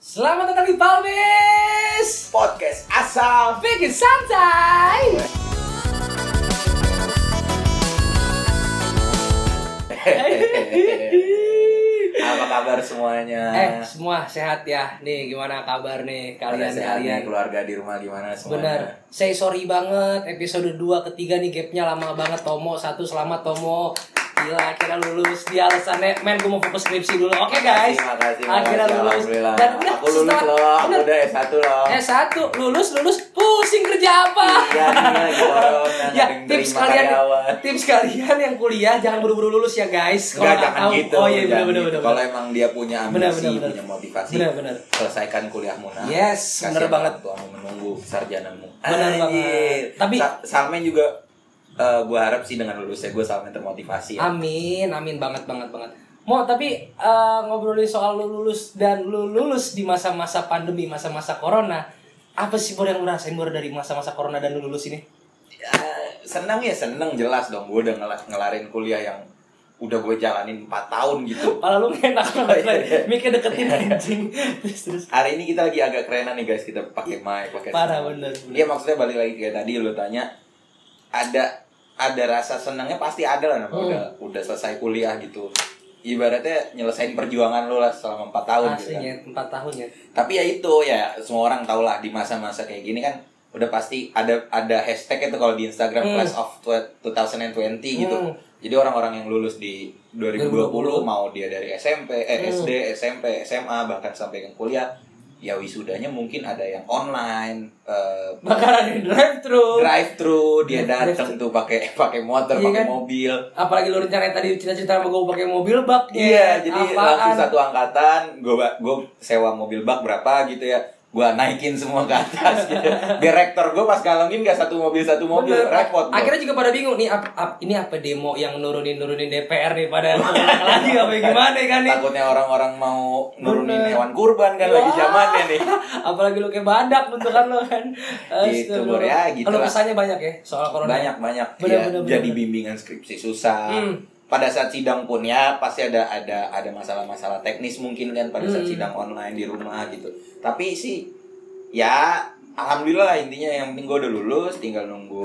kali Balmis Podcast asal Bikin santai Apa kabar semuanya? Eh semua sehat ya Nih gimana kabar nih Pada sehat nih, kalian-kalian keluarga di rumah gimana semuanya? Bener Saya sorry banget Episode 2 ketiga nih gapnya lama banget Tomo Satu selamat Tomo Gila akhirnya lulus Dia alasannya Men gue mau fokus skripsi dulu Oke guys Terima kasih, terima Akhirnya kasih, lulus Alhamdulillah. Dan udah aku lulus setelah- loh, aku bener. udah S1 loh. Eh satu Lulus lulus Pusing kerja apa Iya, iya, gitu orang ya tips kalian karyawan. tips kalian yang kuliah jangan buru-buru lulus ya guys nggak Enggak, jangan tahu- gitu. oh iya benar jangan benar gitu. benar Kalau emang dia punya Benar, ambisi, benar, benar. punya motivasi, Benar, benar. selesaikan kuliahmu nah. Yes, Kasihan benar banget. orang Tuamu menunggu sarjanamu. Benar Anjir. banget. Tapi- Sa- Salmen juga eh, gue harap sih dengan lulusnya gue Salmen termotivasi. Ya. amin amin banget banget banget mau tapi eh, ngobrolin soal lu lulus dan lu lulus di masa-masa pandemi masa-masa corona apa sih Bor yang lu rasain Bor dari masa-masa corona dan lu lulus ini Ya, senang ya senang jelas dong gue udah ngela- ngelarin kuliah yang udah gue jalanin 4 tahun gitu. malah lu enak banget Iya, iya. mikir deketin anjing terus terus Hari ini kita lagi agak kerenan nih guys, kita pakai mic, pakai Parah, sound. bener, bener. Iya maksudnya balik lagi kayak tadi lu tanya ada ada rasa senangnya pasti ada lah namanya Hmm. udah udah selesai kuliah gitu. Ibaratnya nyelesain perjuangan lu lah selama 4 tahun gitu. kan. aslinya empat tahun ya Tapi ya itu ya semua orang tau lah di masa-masa kayak gini kan udah pasti ada ada hashtag itu kalau di Instagram Hmm. class of twe- 2020 gitu. Hmm. Jadi orang-orang yang lulus di 2020. 2020, mau dia dari SMP, eh, Hmm. SD, SMP, SMA bahkan sampai ke kuliah ya wisudanya mungkin ada yang online eh, bakaran di drive thru drive thru dia Oh. Drive-thru. datang tuh pakai pakai motor Iya pakai kan? mobil apalagi lu rencananya tadi cerita-cerita sama gue pakai mobil bak ya. Iya, jadi langsung satu angkatan, gue gue sewa mobil bak berapa gitu ya, gue naikin semua ke atas gitu. Biar rektor gue pas galangin gak satu mobil satu mobil, Bener. repot. gua. Akhirnya juga pada bingung nih ap- ap- ini apa demo yang nurunin nurunin DPR nih pada lagi apa gimana kan nih? takutnya orang-orang mau nurunin Bener. hewan kurban kan lagi Wah. zamannya nih. Apalagi lu kayak badak bentukan lu kan. Gitu, Bor, ya, gitu Kalau lah. pesannya banyak ya soal corona. Banyak banyak. Bener, Iya, bener, jadi bener. bimbingan skripsi susah. Hmm. Pada saat sidang pun ya pasti ada ada ada masalah-masalah teknis mungkin kan pada saat Hmm. sidang online di rumah gitu. Tapi sih ya alhamdulillah lah intinya yang penting gue udah lulus tinggal nunggu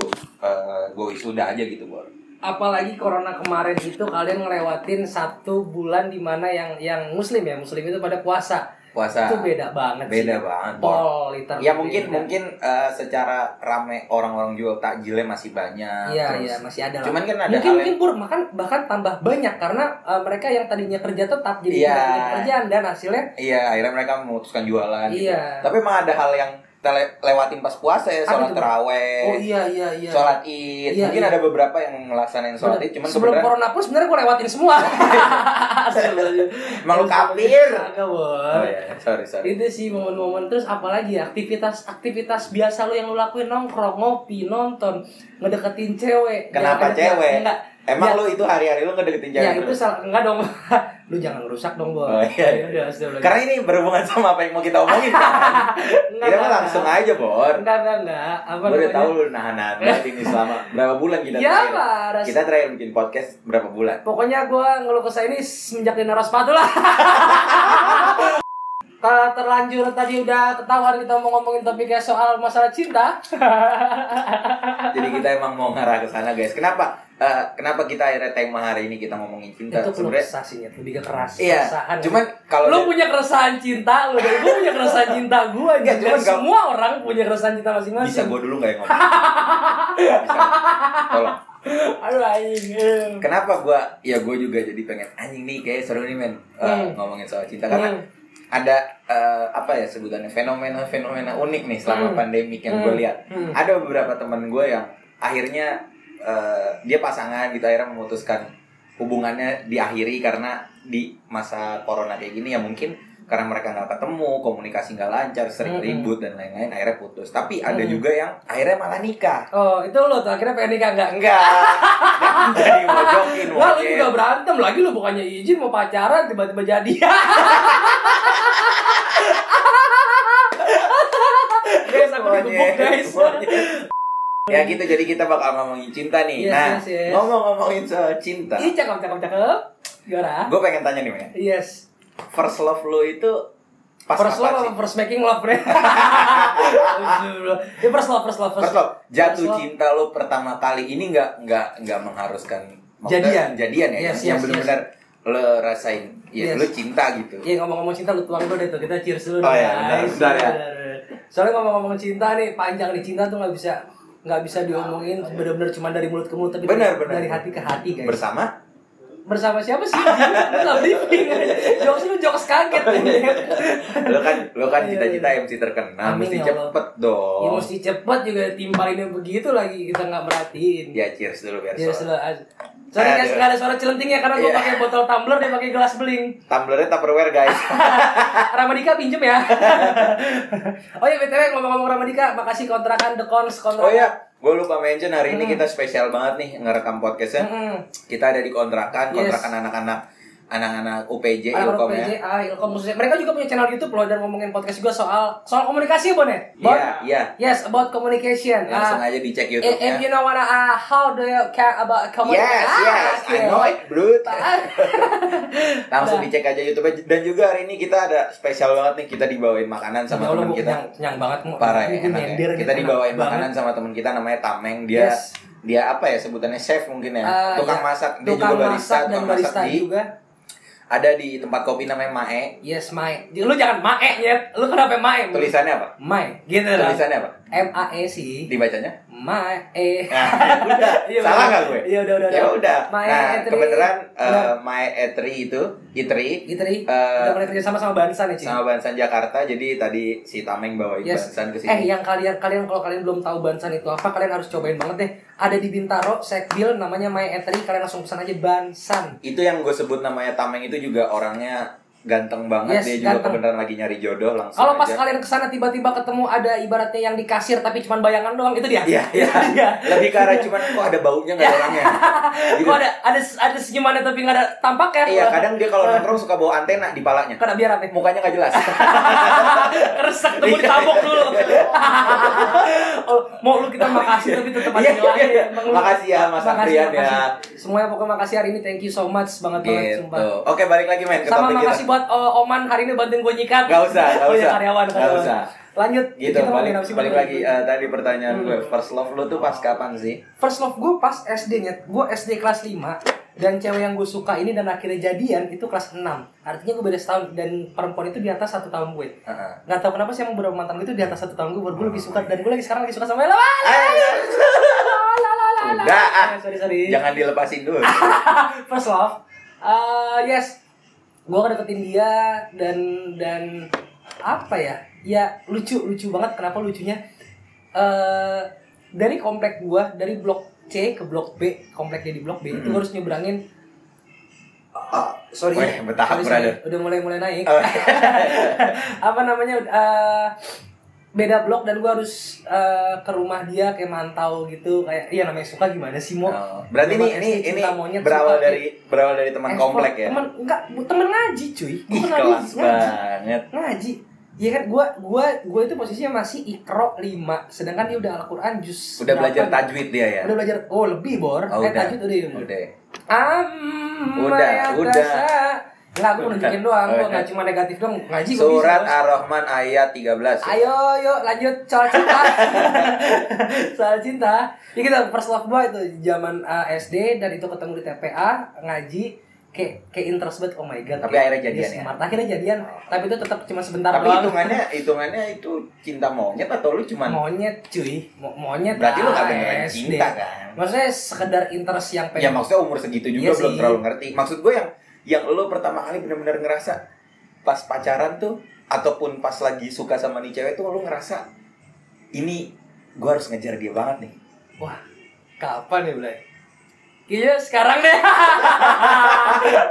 gue wisuda aja gitu bor. Apalagi corona kemarin itu kalian ngelewatin satu bulan di mana yang yang muslim ya muslim itu pada puasa. Puasa. Itu beda banget sih. Nah, Beda banget. Bor. Pol liter. Ya mungkin mungkin eh, secara rame orang-orang jual takjilnya masih banyak. Iya terus- iya masih ada lah. Cuman kan ada mungkin hal mungkin Pur, makan bahkan tambah banyak karena uh, mereka yang tadinya kerja tetap jadi Iya. tidak punya pekerjaan dan hasilnya Iya, akhirnya mereka memutuskan jualan. gitu. Iya. Tapi emang ada hal yang kita le- lewatin pas puasa ya, Apa sholat tuh, Bang? teraweh, oh iya iya iya sholat id. Iya, Mungkin iya. ada beberapa yang ngelaksanain sholat id, cuman sebelum sebenarnya corona pun sebenarnya gue lewatin semua Emang lu kafir. Kagak, Bor. Oh iya, sorry sorry. itu sih momen-momen terus apalagi ya aktivitas aktivitas biasa lu yang lu lakuin nongkrong ngopi nonton ngedeketin cewek Kenapa Jangan- cewek? enggak Ya. Emang lu itu hari-hari lu ngedeketin cewek ya itu terus? salah enggak dong lu jangan rusak dong Bor Oh, Ya iya. udah, sudah. Karena ini berhubungan sama apa yang mau kita omongin. kan? Enggak, kita mah enggak, langsung aja, Bor. enggak enggak enggak apa Gue udah namanya? tahu lu nahan-nahan banget ini selama berapa bulan kita Ya, terakhir. Pak, ras- Kita terakhir bikin podcast berapa bulan? Pokoknya gue ngeluh kesah ini semenjak dinaro sepatu lah. Ter- terlanjur tadi udah ketahuan kita mau ngomongin topiknya soal masalah cinta. Jadi kita emang mau ngarah ke sana guys. Kenapa? Eh, kenapa kita akhirnya tema hari ini kita ngomongin cinta? Itu keluh Sebenarnya kesah sih, Nyet. lebih ke keras. iya. Keresahan. Cuman kalau lu punya keresahan cinta lu dan gue punya keresahan cinta gue Enggak, cuman gak- semua orang punya keresahan cinta bisa masing-masing. gue dulu nggak yang ngomong? Bisa. Tolong. Aduh anjing. eh. Kenapa gue? Ya gue juga jadi pengen anjing nih kayak seru nih men eh, Hmm. ngomongin soal cinta karena Hmm. ada eh, apa ya sebutannya fenomena-fenomena unik nih selama Hmm. pandemik yang Hmm. gue lihat. Hmm. Ada beberapa teman gue yang akhirnya eh, dia pasangan gitu akhirnya memutuskan hubungannya diakhiri karena di masa corona kayak gini ya mungkin karena mereka nggak ketemu komunikasi nggak lancar sering Hmm. ribut dan lain-lain akhirnya putus. Tapi ada Hmm. juga yang akhirnya malah nikah. Oh itu lo tuh akhirnya pengen nikah enggak? Enggak. Jangan jadi mojokin. Lah lu Wajib. juga berantem lagi lu bukannya izin mau pacaran tiba-tiba jadi. guys, aku Monyet, digebuk guys. monyet. ya gitu jadi kita bakal ngomongin cinta nih Yes, nah yes, yes. ngomong-ngomongin soal cinta Ih cakep cakep cakep. Gimana? gue pengen tanya nih men Yes. first love lo itu Pas first kapan love sih? apa first making love, Bre? Ya first love, first love, first, First love, jatuh First love. cinta lo pertama kali ini nggak nggak nggak mengharuskan Jadian. maksudnya jadian ya Yes, yang yes, benar-benar lo rasain Yes. ya lo cinta gitu. Iya ngomong-ngomong cinta lu tuang dulu deh tuh kita cheers dulu Oh deh, iya, bentar, guys. bentar ya. Soalnya ngomong-ngomong cinta nih panjang nih cinta tuh nggak bisa nggak bisa diomongin benar-benar cuma dari mulut ke mulut tapi Oh, iya. Benar, dari, benar. dari hati ke hati guys. Bersama? Bersama siapa sih? Lu nggak briefing. Jokes lu jokes kaget. ya. lo kan lo kan Iya, cita-cita MC terkenal Amin, mesti ya Allah. cepet Ya dong. mesti cepat juga timpalinnya begitu lagi kita nggak merhatiin. Ya cheers dulu biar Cheers soal. dulu. Sorry guys, Aduh. nggak ada suara celenting ya karena gue Iya. pakai botol tumbler dia pakai gelas beling. Tumblernya Tupperware guys. Ramadika pinjem ya. oh iya btw ngomong-ngomong Ramadika, makasih kontrakan The Cons kontrakan. oh ya, gue lupa mention hari ini kita spesial banget nih ngerekam podcastnya. Mm-mm. Kita ada di kontrakan, Yes. kontrakan anak-anak anak-anak UPJ, Anak Ilkom ya. PJ, ah, Ilkom khususnya. Mereka juga punya channel YouTube loh dan ngomongin podcast juga soal soal komunikasi bon ya. Bon? Iya, iya. Yes, about communication. Langsung Ah, aja dicek if, YouTube if you know what uh, how do you care about communication? ya. Yes, Ah, yes, I okay. know it, Brut. Ah. Langsung Nah. dicek aja YouTube-nya dan juga hari ini kita ada spesial banget nih kita dibawain makanan Ya sama Allah, teman gua kita. kenyang- kenyang banget Mu. Parah Ini ya, gua enak nyender ya. gitu, Kita enak dibawain banget. makanan sama teman kita namanya Tameng. Dia Yes. dia apa ya sebutannya chef mungkin ya. Ah, tukang iya. masak, dia Tukang juga barista, masak dan tukang barista masak di juga. ada di tempat kopi namanya Mae. Yes, Mai. Lu jangan Mae ya. Lu kenapa Mae? Tulisannya apa? Mai, gitu lah. Tulisannya apa? M A E sih. Dibacanya? Mae. Iya, Nah, udah. Iya, Salah bener. nggak gue? Iya, udah, udah, Ya udah. udah. Mae nah, Etri. kebenaran Benar. eh Mae Etri itu, Itri, gitu nih. Eh, Udah mulai kerja sama sama Bansan ya, Ci. sama Bansan Jakarta jadi tadi si Tameng bawain Yes. Bansan ke sini. Eh, yang kalian kalian kalau kalian belum tahu Bansan itu apa, kalian harus cobain banget deh. Ada di Bintaro, Sekbil namanya Mae Etri, kalian langsung pesan aja Bansan. Itu yang gue sebut namanya Tameng itu juga orangnya ganteng banget Yes, dia juga ganteng. kebenaran lagi nyari jodoh langsung Kalau pas aja. kalian kesana tiba-tiba ketemu ada ibaratnya yang di kasir tapi cuma bayangan doang itu dia. Iya, iya. Iya. Lebih ke arah cuman kok ada baunya nggak ada orangnya. Gitu. Kok ada ada ada senyumannya tapi nggak ada tampaknya. Iya, kadang dia kalau nongkrong suka bawa antena di palanya. Kena biar apa? Mukanya nggak jelas. Resek temu Iya. ditabok dulu. oh, mau lu kita makasih tapi tetap ada Iya, nilai. iya, iya. Emang lu- Makasih ya, Mas Aprian ya. makasih. Semuanya pokoknya makasih hari ini thank you so much banget banget gitu. sumpah. Oke, balik lagi men ke Sama topik makasih kita. buat uh, Oman hari ini bantuin gue nyikat. Gak usah, gak Oh iya, usah. karyawan, Gak karyawan. usah. Lanjut. Gitu, kita balik, ngomongin apa sih, balik Bang? Hmm. lagi eh, tadi pertanyaan gue, first love lu tuh pas kapan sih? First love gue pas SD-nya, gue SD kelas 5 dan cewek yang gue suka ini dan akhirnya jadian itu kelas 6 Artinya gue beda setahun dan perempuan itu di atas satu tahun gue Heeh. Gak tau kenapa sih emang beberapa mantan gue itu di atas satu tahun gue baru gue lebih suka dan gue lagi sekarang lagi suka sama Ella. Udah, ah. sorry sorry. Jangan dilepasin dulu. Oh, First love. Uh, yes. Gue deketin dia dan dan apa ya? Ya lucu lucu banget. Kenapa lucunya? Eh dari komplek gue dari blok C ke blok B komplek dia di blok B itu Mm-mm. gua harus nyebrangin. Ah, sorry. Weh, betahap, Sorry, sorry. brother. Udah mulai mulai naik. Oh. apa namanya? eh, beda blok dan gue harus eh, ke rumah dia kayak mantau gitu kayak iya namanya suka gimana sih mau Oh, berarti ini Zaman ini SD, ini cinta monyet, berawal suka dari berawal dari teman Ekspor. komplek ya. Temen enggak, bu- temen ngaji cuy. Ih, Bukan kelas ngaji, ngaji. banget. Ngaji. Iya kan gua gua gua itu posisinya masih Iqra 5, sedangkan dia udah Al-Qur'an juz Udah belajar berapa nih? tajwid dia ya. Udah belajar oh lebih bor. eh Oh, udah. tajwid udah ya. Udah. Am Udah, udah. Enggak, gua nunjukin doang, gua Udah. enggak cuma negatif doang. Ngaji gua Surat bisa, Bos. Ar-Rahman ayat 13. ya. Ayo, yuk lanjut soal cinta. soal cinta. Ini kita first love gua itu zaman uh, SD dan itu ketemu di TPA ngaji kayak kayak interest banget oh my god. Tapi kayak akhirnya dia jadian ya? smart. Akhirnya jadian, tapi itu tetap cuma sebentar Tapi doang. hitungannya hitungannya itu cinta monyet atau lu cuman Monyet cuy, Mo- monyet. berarti lu gak ah, beneran SD. cinta kan? Maksudnya sekedar interest yang Ya pengen. maksudnya umur segitu Iya juga belum sih. terlalu ngerti. Maksud gue yang yang lu pertama kali bener-bener ngerasa pas pacaran tuh ataupun pas lagi suka sama nih cewek tuh lu ngerasa ini gue harus ngejar dia banget nih. Wah, kapan ya, Blay? Kayaknya sekarang deh.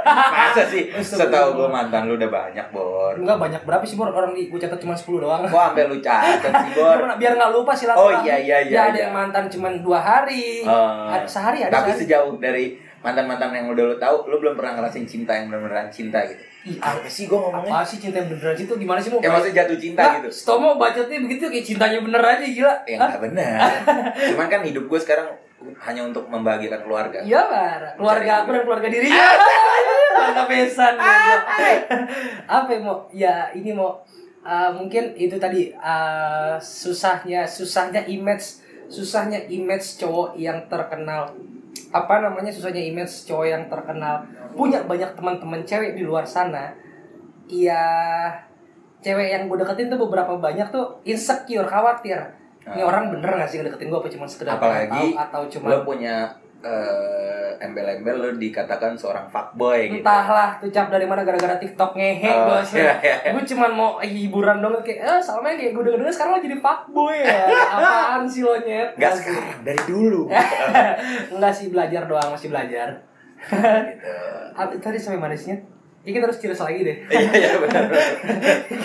Masa sih? Setahu gue mantan lu udah banyak, Bor. Enggak banyak berapa sih Bor orang di gue catat cuma 10 doang. Kok sampai lu catet sih, Bor? Biar- biar nggak lupa Oh silaturahmi. iya iya iya. Ya, ada iya. yang mantan cuma dua hari, Eh, ada sehari ada Tapi sehari. sejauh dari mantan-mantan yang udah lu tahu, lu belum pernah ngerasain cinta yang benar-benar cinta gitu. Ih, apa Apa sih gue ngomongnya? apa sih cinta yang beneran sih itu gimana sih mau? Ya maksudnya jatuh cinta Nggak, gitu. Stomo bacotnya begitu kayak cintanya bener aja gila. Ya Hah? nggak benar. Cuman kan hidup gue sekarang hanya untuk membahagiakan keluarga. Iya Bar. Keluarga Mencari Ah, iya, aku dan keluarga dirinya. Mantap pesan. Apa ya mau? Ya ini mau eh, mungkin itu tadi eh, susahnya susahnya image susahnya image cowok yang terkenal apa namanya susahnya image cowok yang terkenal punya banyak teman-teman cewek di luar sana iya cewek yang gue deketin tuh beberapa banyak tuh insecure khawatir ini Nah, orang bener gak sih ngedeketin gue apa cuma sekedar Apalagi tahu atau cuma lo punya eh, embel-embel lo dikatakan seorang fuckboy gitu. entahlah tuh cap dari mana gara-gara TikTok ngehe Oh, gue iya, iya. gue cuman mau hiburan dong kayak eh Salma kayak gue denger denger sekarang lo jadi fuckboy ya apaan sih lo nyet Nggak sekarang, dari dulu. enggak sih belajar doang masih belajar gitu. Ah, tadi sampai manisnya ya kita harus cerita lagi deh Iya, iya benar. benar.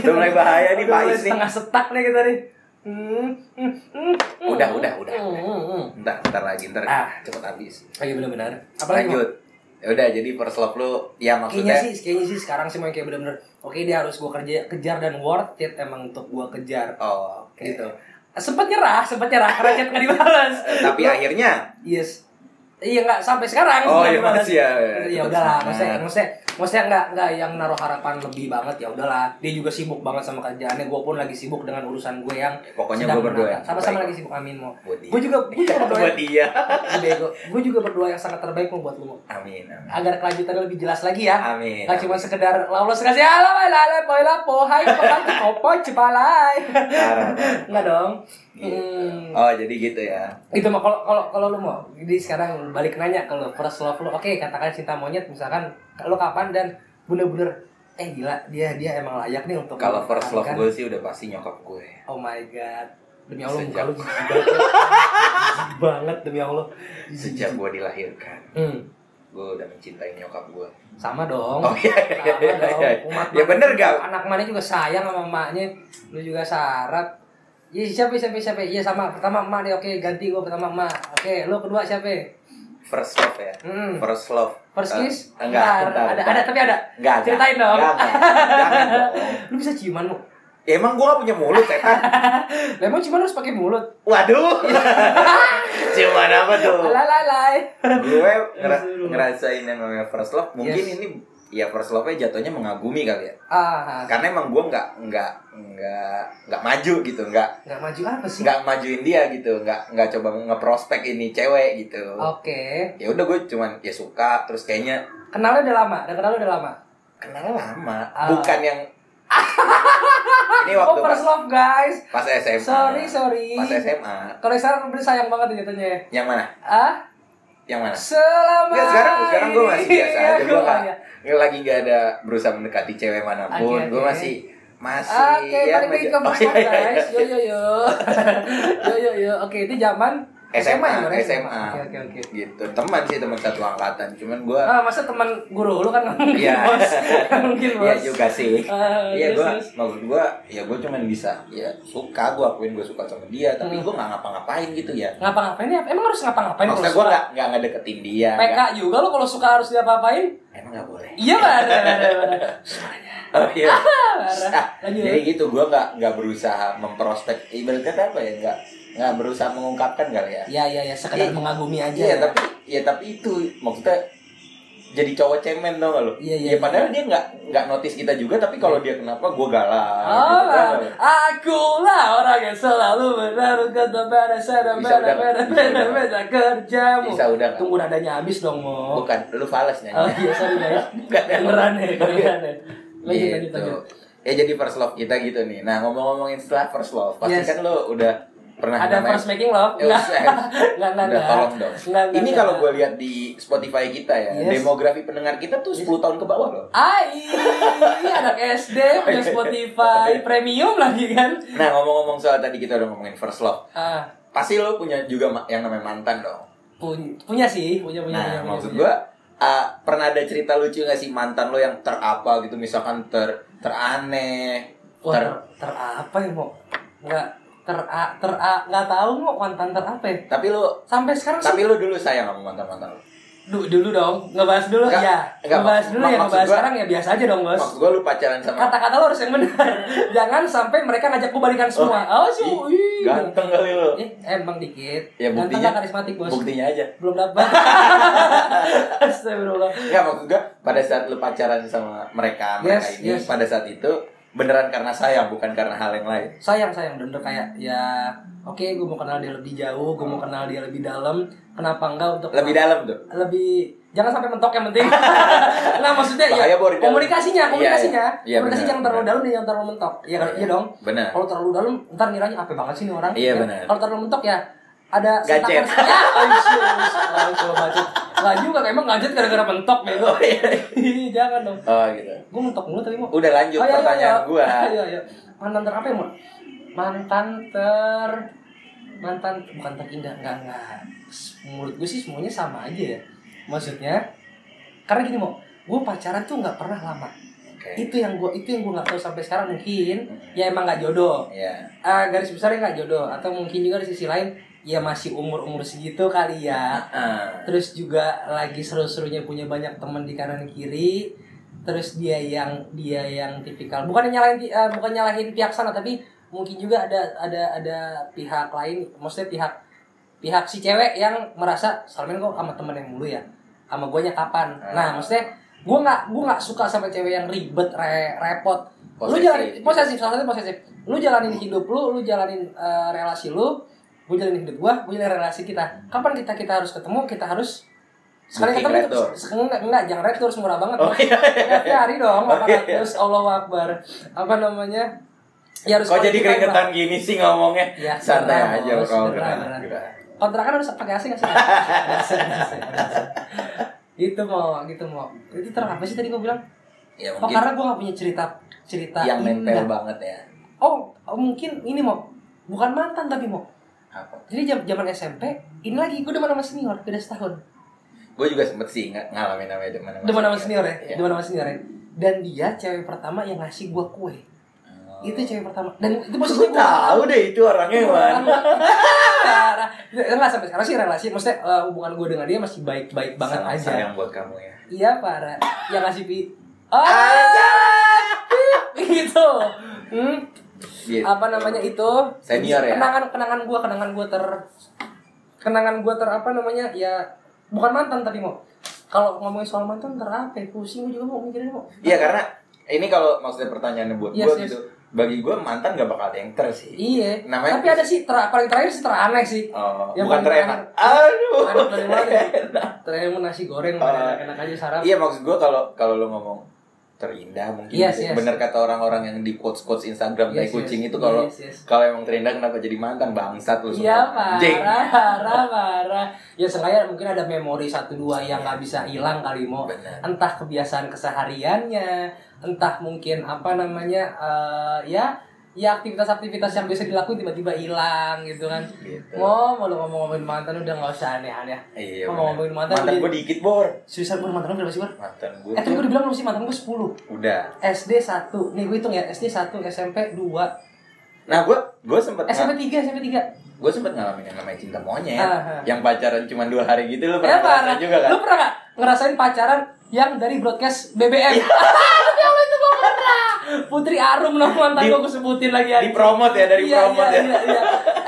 Udah mulai bahaya nih Udah Pak mulai Is nih. setengah setak nih kita nih Hmm, hmm, hmm, hmm. Udah, udah, udah. Hmm, hmm, hmm. Ntar, ntar lagi, ntar Ah. cepet habis. Oh iya benar-benar. Apalagi Lanjut. Ya udah, jadi first love lo, ya kayaknya maksudnya sih kayaknya sih sekarang sih mau yang kayak bener-bener oke dia harus gua kerja kejar dan worth it emang untuk gua kejar oh, oke. gitu sempet nyerah sempet nyerah karena chat nggak dibalas Eh, Tapi akhirnya yes iya nggak sampai sekarang nggak Oh, iya, dibalas. masih ya, ya. ya Tetap udahlah semangat. maksudnya maksudnya maksudnya nggak nggak yang naruh harapan lebih banget ya udahlah dia juga sibuk banget sama kerjaannya gue pun lagi sibuk dengan urusan gue yang pokoknya sedang gue berdoa menata. yang sama-sama terbaik lagi sibuk amin mau buat dia. gue juga gue juga berdoa buat dia. bego gue juga berdoa yang sangat terbaik mau buat lu Mo. Amin, amin. agar kelanjutannya lebih jelas lagi ya Amin. Gak cuma sekedar lolos kasih ala ala ala poi la po hai po hai po cepalai. Parah, parah. Enggak dong. Gitu. Hmm. Oh, jadi gitu ya. itu mah kalau kalau kalau lu mau jadi sekarang balik nanya kalau first love lu oke katakan cinta monyet misalkan lu kapan dan bener-bener eh gila dia dia emang layak nih untuk Kalau first love dipertahankan. gue sih udah pasti nyokap gue. oh my god demi allah muka Sejak- lu jijik banget Jijik banget demi allah Jijik, Sejak jijik. gue dilahirkan, hmm, gue udah mencintai nyokap gue. sama dong Oh iya sama iya iya. dong iya. umat Ya bener gak? anak mana juga sayang sama emaknya lu juga syarat Iya siapa siapa siapa iya sama pertama emak deh oke ganti gua pertama emak oke lu kedua siapa First love ya. hmm. First love. First Eh, kiss? enggak, ada, bentar, bentar. ada, tapi ada. Enggak. enggak. Ceritain dong. Enggak, enggak. Jangan dong. Lu bisa ciuman lu. Ya, emang gue gak punya mulut setan. Lah emang ciuman harus pakai mulut. Waduh. Cuman apa tuh? Alalai. Gue ngera- Disuruh. ngerasain yang namanya first love. Mungkin Yes. ini ya first love-nya jatuhnya mengagumi kali ya. Ah, Karena emang gue nggak nggak nggak nggak maju gitu, nggak enggak maju apa sih? nggak majuin dia gitu nggak nggak coba ngeprospek ini cewek gitu Oh. Oke. ya udah gue cuman ya suka terus kayaknya Kenalnya udah lama, udah kenal udah lama. kenal lama Ah. bukan yang ini Oh, waktu pas, first love guys. pas SMA Sorry, sorry. pas SMA Kalau sekarang bener sayang banget ya jatuhnya ya. yang mana Ah, yang mana selama. Nggak, sekarang sekarang gue masih ini- biasa Iya, gua aja gue nggak nggak- nggak lagi nggak ada berusaha mendekati cewek manapun Oke, gue oke. masih masih Oke, balik lagi meja- ke first Oh, love iya, iya, guys. Yo iya. yo yo. Yo yo yo. Oke, itu zaman SMA ya, Bang? SMA Oke, oke, oke. gitu teman sih teman satu angkatan cuman gue Ah, masa teman guru lu kan nggak mungkin Iya. bos, Nggak mungkin bos. Iya juga sih. Oh, Ah, Iya terus, gua terus. maksud gua ya gua cuman bisa ya suka gua akuin gua suka sama dia tapi Hmm. gua nggak ngapa-ngapain gitu ya. Ngapa-ngapain ya? Emang harus ngapa-ngapain? kalau Maksudnya gua suka? nggak nggak ngedeketin dia. PK nggak- juga lo kalau suka harus diapa-apain? Emang nggak boleh. Iya marah, marah, marah. Oh iya. marah. Ah, Lanjut. Jadi gitu gua nggak nggak berusaha memprospek ibaratnya apa ya nggak nggak berusaha mengungkapkan kali ya. Iya iya ya sekedar Iya. mengagumi aja. Iya tapi ya tapi itu maksudnya jadi cowok cemen tau gak lo? Iya, iya, Ya, padahal dia nggak nggak notice kita juga tapi kalau dia kenapa gua galau. Oh, gitu, kan? aku lah orang yang selalu menaruh kata pada sana, Bisa pada udah, pada bisa pada udah. pada kerjamu. Bisa udah, Kak. Tunggu nadanya habis dong mo. Bukan, lu fales Oh nyanyi. iya sorry guys. Bukan. Iya. Beneran ya, beneran ya. Lanjut lanjut gitu. lanjut. Ya jadi first love kita gitu nih. Nah ngomong-ngomongin setelah first love, pasti Yes. kan lo udah pernah Ada Nah, namanya- first making love? Eh, Enggak. usah. Enggak enggak Udah, enggak. tolong dong. Enggak, enggak, Ini enggak. kalau gue lihat di Spotify kita ya, Yes. demografi pendengar kita tuh 10 tahun ke bawah loh. Ai, anak SD punya Spotify premium lagi kan? Nah ngomong-ngomong soal tadi kita udah ngomongin first love, Ah, pasti lo punya juga ma- yang namanya mantan dong. pun- punya sih, punya punya. Nah punya, maksud punya. gue ah, pernah ada cerita lucu gak sih mantan lo yang terapa gitu misalkan ter teraneh, Wah, ter, ter ter apa ya mau? Enggak ter a- ter a- nggak tahu mau mantan ter apa ya? tapi lo Sampai sekarang sih. tapi lo dulu sayang sama mantan mantan lo. Du- dulu dong, ngebahas dulu Enggak, ya. enggak, ngebahas mak- dulu mak- ya, maksud ngebahas gua- sekarang ya biasa aja dong, Bos. Maksud gue lu pacalan sama Kata-kata lo harus yang benar. Jangan sampai mereka ngajak gue balikan semua. Oh, sih. Ih, wih. Ganteng kali lo. Eh, emang dikit. Ya, Ganteng buktinya- nggak karismatik, Bos. Buktinya aja. Belum dapat. Astagfirullah. Enggak maksud gue pada saat lu pacaran sama mereka mereka Yes, ini yes. pada saat itu beneran karena saya bukan karena hal yang lain sayang sayang bener kayak ya oke gue mau kenal dia lebih jauh gue mau kenal dia lebih dalam kenapa enggak untuk lebih dalam tuh lebih jangan sampai mentok yang penting nah maksudnya ya Bahaya, Bor, di dalam. komunikasinya Iya, komunikasinya iya. Iya, komunikasi benar, jangan terlalu benar. dalam dan jangan terlalu mentok ya kan iya dong bener kalau terlalu dalam ntar ngiranya apa banget sih ini orang Iya, Ya. benar. kalau terlalu mentok ya ada Gadget. sentakan- ya oh, kalau gadget nggak juga emang gadget gara-gara mentok bego Oh, iya. Ih, jangan dong oh gitu gue mentok mulu tapi mau udah lanjut Oh, iya, iya, pertanyaan iya. gua Iya, iya. Mantan ter apa ya, Mon? Mantan ter mantan bukan terindah, enggak enggak. Menurut gue sih semuanya sama aja ya. Maksudnya karena gini, Mo, gue pacaran tuh nggak pernah lama. oke Itu yang gue itu yang gue nggak tahu sampai sekarang mungkin ya emang nggak jodoh. Iya. Ah, garis besarnya nggak jodoh atau mungkin juga di sisi lain ya masih umur-umur segitu kali ya Ah, terus juga lagi seru-serunya punya banyak teman di kanan kiri terus dia yang dia yang tipikal bukan nyalahin eh, bukan nyalahin pihak sana tapi mungkin juga ada ada ada pihak lain maksudnya pihak pihak si cewek yang merasa selama ini gue sama temen yang mulu ya sama guanya kapan nah maksudnya gue nggak gue nggak suka sama cewek yang ribet re- repot lu Posesif. jalanin posesif salah satu posesif lu jalanin hidup lu lu jalanin eh, relasi lu gue jalanin hidup gue gue jalanin relasi kita kapan kita kita harus ketemu kita harus sekali Booking ketemu red door. se- enggak, enggak jangan red terus murah banget oh iya Tiap hari dong Oh, iya. makan terus Allah Akbar apa namanya ya harus kok jadi quality time lah. keringetan gini sih ngomongnya Ya, sederhana, santai aja bos, kau sederhana. kenal kontrakan harus pakai AC nggak sih? AC, AC, AC. Gitu mau, gitu mau. Itu terang apa sih tadi gue bilang? ya Oh mungkin karena gue gak punya cerita cerita yang indah. nempel banget ya Oh, oh, mungkin ini mau bukan mantan tapi mau. apa Jadi jam zaman SMP ini lagi gue demen sama senior beda setahun. gue juga sempet sih ng- ngalamin namanya demen sama Demen sama senior ya, Iya. demen sama senior ya. Dan dia cewek pertama yang ngasih gue kue. Oh. Itu cewek pertama. Dan itu Gue posisinya gua- tahu deh itu orangnya yang mana. Nah, Enggak sampai sekarang sih relasi, maksudnya eh, hubungan gue dengan dia masih baik-baik banget Salam aja. Sayang buat kamu ya. Iya parah. Yang ngasih pi. Oh, Ah. gitu. Hmm, Gitu. apa namanya itu? Senior ya? Kenangan kenangan gue, kenangan gue ter, kenangan gue ter apa namanya ya bukan mantan tapi mau. Kalau ngomongin soal mantan ter apa? ya? Pusing gue juga mau mikirin mau. Iya karena ini kalau maksudnya pertanyaannya buat Yes, gue yes. gitu, bagi gue mantan gak bakal ada yang ter sih. Iya. Namanya- Tapi ada sih ter, paling terakhir sih teraneh sih. Oh, Yang bukan paling terenak. Aduh. Anak dari mana? terenak. Terakhir mau nasi goreng, Oh. mana enak-enak aja sarap. Iya maksud gue kalau kalau lo ngomong terindah mungkin Yes, yes. gitu. bener kata orang-orang yang di quotes quotes Instagram Yes, kayak kucing yes. itu kalau Yes, yes. kalau emang terindah kenapa jadi mantan bangsat lu Iya semua. Anjing. parah, parah, parah. Ya sengaja mungkin ada memori satu dua yang nggak bisa hilang kali mau. Bener. Entah kebiasaan kesehariannya, entah mungkin apa namanya eh, ya ya aktivitas-aktivitas yang biasa dilakuin tiba-tiba hilang gitu kan. Gitu. Mau mau lu ngomong-ngomongin mantan udah nggak usah aneh-aneh. Iya. Kalau bener. ngomongin mantan, mantan jadi- gue dikit bor. Susah gue mantan lu berapa sih Bar? Mantan gue. Eh tadi gue dibilang belum sih mantan gue 10 Udah. SD 1, nih gue hitung ya SD 1, SMP 2, Nah gue gue sempet SMP 3, SMP 3 gue sempet ngalamin yang namanya cinta monyet Ah, ah. yang pacaran cuma dua hari gitu lo Ya pernah ngerasain parah. juga kan Lu pernah gak ngerasain pacaran yang dari broadcast BBM? Iya. Ya Allah itu gua pernah. Putri Arum nama mantan Di- gua gua sebutin lagi aja. di promote ya dari Iya, promote iya, ya iya, iya.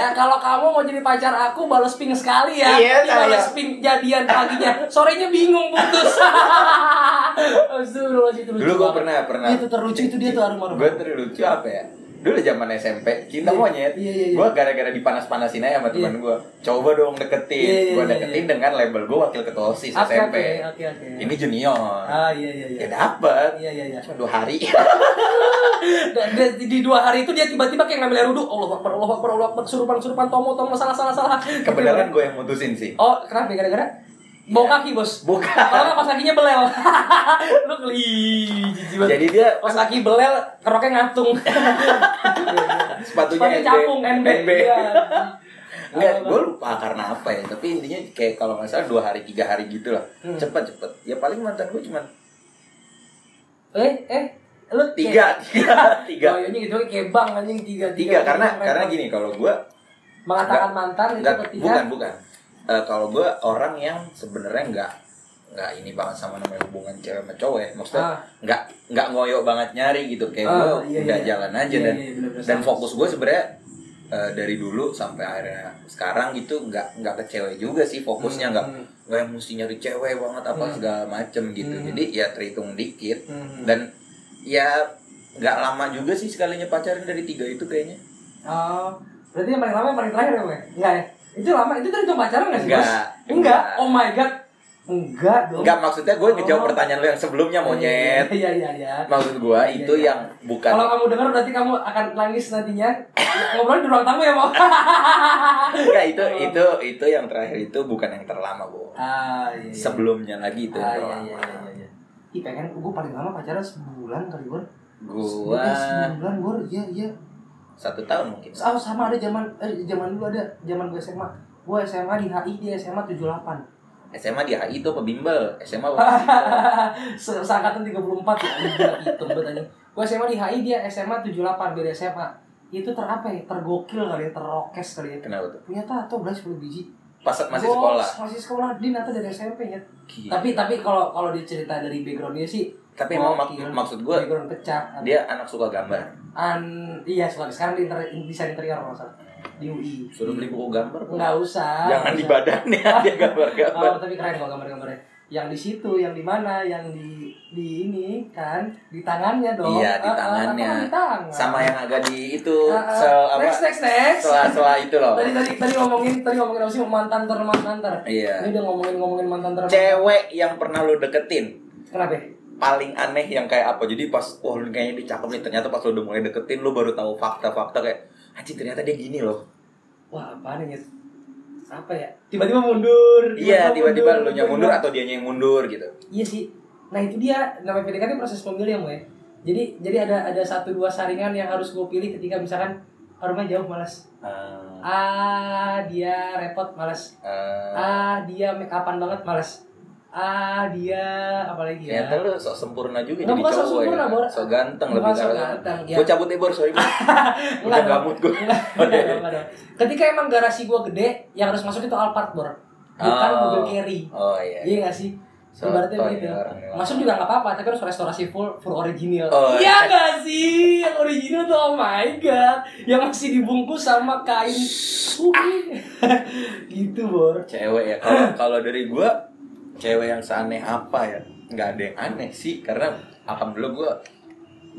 Eh, kalau kamu mau jadi pacar aku balas ping sekali ya. Iya, Ini balas saya. ping jadian paginya, sorenya bingung putus. Astagfirullah itu lucu. dulu gue banget. pernah pernah Itu terlucu itu dia tuh Arum Arum. gue terlucu apa ya dulu zaman SMP cinta Iya, monyet iya, iya, iya. gue gara-gara dipanas-panasin aja sama teman gue coba dong deketin Iya, iya, gue iya, deketin dengan label gue wakil ketua osis Oke, SMP oke, oke, oke. ini junior Ah iya iya iya. ya dapet Iya iya iya. cuma dua hari Dan dia- di, di dua hari itu dia tiba-tiba kayak ngambil air wudhu Allah Akbar, Allah Akbar, Allah Akbar Surupan, surupan, tomo, tomo, salah, salah, salah kebenaran Iya. gue yang mutusin sih Oh, kenapa? Gara-gara? Bau kaki, bos bukan Kalau nggak kaos kakinya belel Lu keli jijik banget. jadi dia Kaos kaki belel, roknya ngatung Sepatunya sepatunya NB capung, NB, Iya. Enggak, Apa? gue lupa karena apa ya Tapi intinya kayak kalau nggak salah dua hari, tiga hari gitu lah Hmm. Cepet-cepet Ya paling mantan gue cuma Eh, eh Lu tiga Tiga, tiga Tiga gitu kayak bang anjing tiga Tiga, Keren karena karena banget. gini Kalau gue, mengatakan mantan itu enggak, ketika bukan, bukan Eh, Kalau gue orang yang sebenarnya enggak Enggak ini banget sama namanya hubungan cewek sama cowok ya Maksudnya Ah. enggak, enggak ngoyok banget nyari gitu Kayak Ah, gue iya, udah iya. jalan aja Iya, Dan iya, bener-bener dan sama. fokus gue sebenarnya eh, dari dulu sampai akhirnya sekarang gitu nggak nggak ke cewek juga sih fokusnya nggak Hmm. nggak yang mesti nyari cewek banget apa Hmm. segala macem gitu Hmm. jadi ya terhitung dikit Hmm. dan ya nggak lama juga sih sekalinya pacaran dari tiga itu kayaknya Oh, berarti yang paling lama yang paling terakhir ya, Boy? Enggak ya? Itu lama, itu dari cuma pacaran nggak sih, Bos? Enggak. Enggak. Oh my god. Enggak dong. nggak maksudnya gue ngejawab Oh. pertanyaan lo yang sebelumnya monyet Iya, iya, iya. maksud gue itu Iya. yang bukan Kalau kamu dengar berarti kamu akan nangis nantinya. Ngobrol di ruang tamu ya, Bang. Ah. Enggak, itu Iya. itu itu yang terakhir itu bukan yang terlama bu ah, iya. iya. sebelumnya lagi itu ya, ah, yang iya, terlama iya, iya, iya. Ih, pengen gue paling lama pacaran sebulan kali, Bor. gue Eh, sebulan, Bor. Iya, iya. satu tahun mungkin Oh, sama ada zaman eh, zaman dulu ada zaman gue SMA. Gue SMA di HI, dia SMA 78. SMA di HI itu apa bimbel SMA apa bimbel? Hahaha, Se- seangkatan 34 ya anjing, gila, hitam banget anjing. Gua SMA di HI dia SMA 78 beda SMA itu terapa ya tergokil kali ya terokes kali ya kenapa tuh punya tato belas 10 biji pas saat masih Gua sekolah masih sekolah din atau dari SMP ya Gila. tapi tapi kalau kalau dicerita dari backgroundnya sih tapi emang mak- gokil. maksud gue background pecah dia anak suka gambar an iya suka sekarang di inter- desain interior kalau nggak salah. di UI suruh beli buku gambar Bu. nggak usah jangan nggak di usah. badannya dia gambar-gambar Oh, tapi keren kok gambar-gambarnya. Yang di situ, yang di mana, yang di di ini kan di tangannya dong. Iya, di Ah, ah, tangannya. tatoan di tangan. sama yang agak di itu Ah, ah. se apa next next next. setelah setelah itu loh Tadi tadi tadi ngomongin tadi ngomongin apa sih mantan ter mantan ter. Ini iya udah ngomongin ngomongin mantan ter. cewek yang pernah lo deketin Kenapa? ya? paling aneh yang kayak apa jadi pas wah lu kayaknya dia cakep nih ternyata pas lo udah mulai deketin lo baru tahu fakta-fakta kayak anjing ternyata dia gini loh Wah, apaan ini? Apa ya? Tiba-tiba mundur. iya tiba-tiba lo nya mundur. mundur atau dianya yang mundur gitu Iya sih. Nah itu dia namanya PDKT proses pemilihan ya. Jadi jadi ada ada satu dua saringan yang harus gue pilih ketika misalkan ah, rumahnya jauh malas. Eh, Ah dia repot malas. eh, Ah dia make upan banget malas. Ah dia apalagi ya. ternyata lo sok sempurna juga Nggak, jadi bukan sok cowok sempurna, ya. Bor. sok ganteng Bukan lebih sok karena- ganteng, ya. Gua cabut deh bor sorry Bor. udah Enggak dong. gamut gue Enggak, enggak dong, enggak dong. Ketika emang garasi gua gede, yang harus masuk itu Alphard bor, bukan Oh. mobil carry. oh iya Iya nggak sih? So, Ibaratnya gitu. oh, begitu. iya, orang lewat. Masuk juga nggak apa-apa, tapi harus restorasi full full original. Oh, Iya nggak sih? Yang original tuh oh my god, yang masih dibungkus sama kain ubi. gitu bor. cewek ya kalau kalau dari gua cewek yang seaneh apa ya nggak ada yang aneh sih karena alhamdulillah gua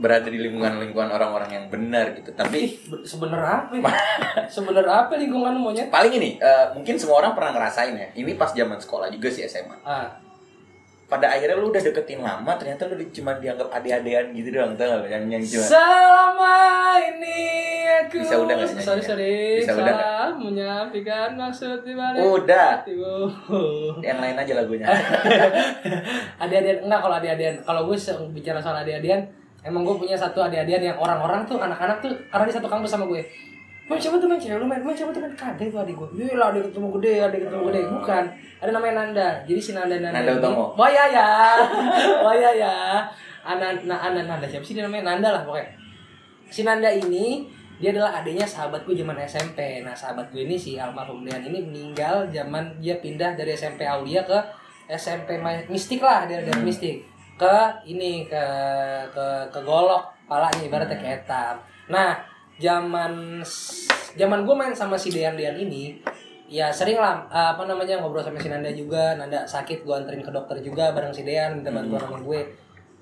berada di lingkungan-lingkungan orang-orang yang benar gitu tapi Ih, sebenernya apa? sebenernya apa lingkungan lu monyet? paling ini eh, mungkin semua orang pernah ngerasain ya ini pas zaman sekolah juga sih SMA Ah, pada akhirnya lu udah deketin lama ternyata lu di- cuma dianggap ade-adean gitu doang tau nggak lu? yang yang cuma Selama ini aku Bisa udah nggak nyanyinya? Sorry sorry Bisa udah salah menyampaikan maksud di balik udah hatimu. yang lain aja lagunya Eh, Adik-adik enggak kalau adik-adikan kalau gue se- bicara soal adik-adikan emang gue punya satu adik-adikan yang orang-orang tuh anak-anak tuh karena di satu kampus sama gue Main siapa tuh main cewek lu main, main siapa tuh main kadek tuh adik gue Iya lah adik ketemu gede, adik ketemu gede Bukan, ada namanya Nanda Jadi si Nanda Nanda Nanda ini- Utomo. Wah ya ya, wah ya ya Anan, nah, Anan, Nanda siapa sih dia namanya? Nanda lah pokoknya si Nanda ini dia adalah adiknya sahabatku zaman SMP. Nah sahabat gue ini si almarhum Dean ini meninggal zaman dia pindah dari SMP Aulia ke SMP Ma- Mistik lah dari Hmm. dari Mistik ke ini ke ke ke Golok palanya ibaratnya ke Etam. Nah zaman zaman gue main sama si Dean Dean ini ya sering lah eh, apa namanya ngobrol sama si Nanda juga Nanda sakit gue anterin ke dokter juga bareng si Dean minta bantuan Hmm. sama gue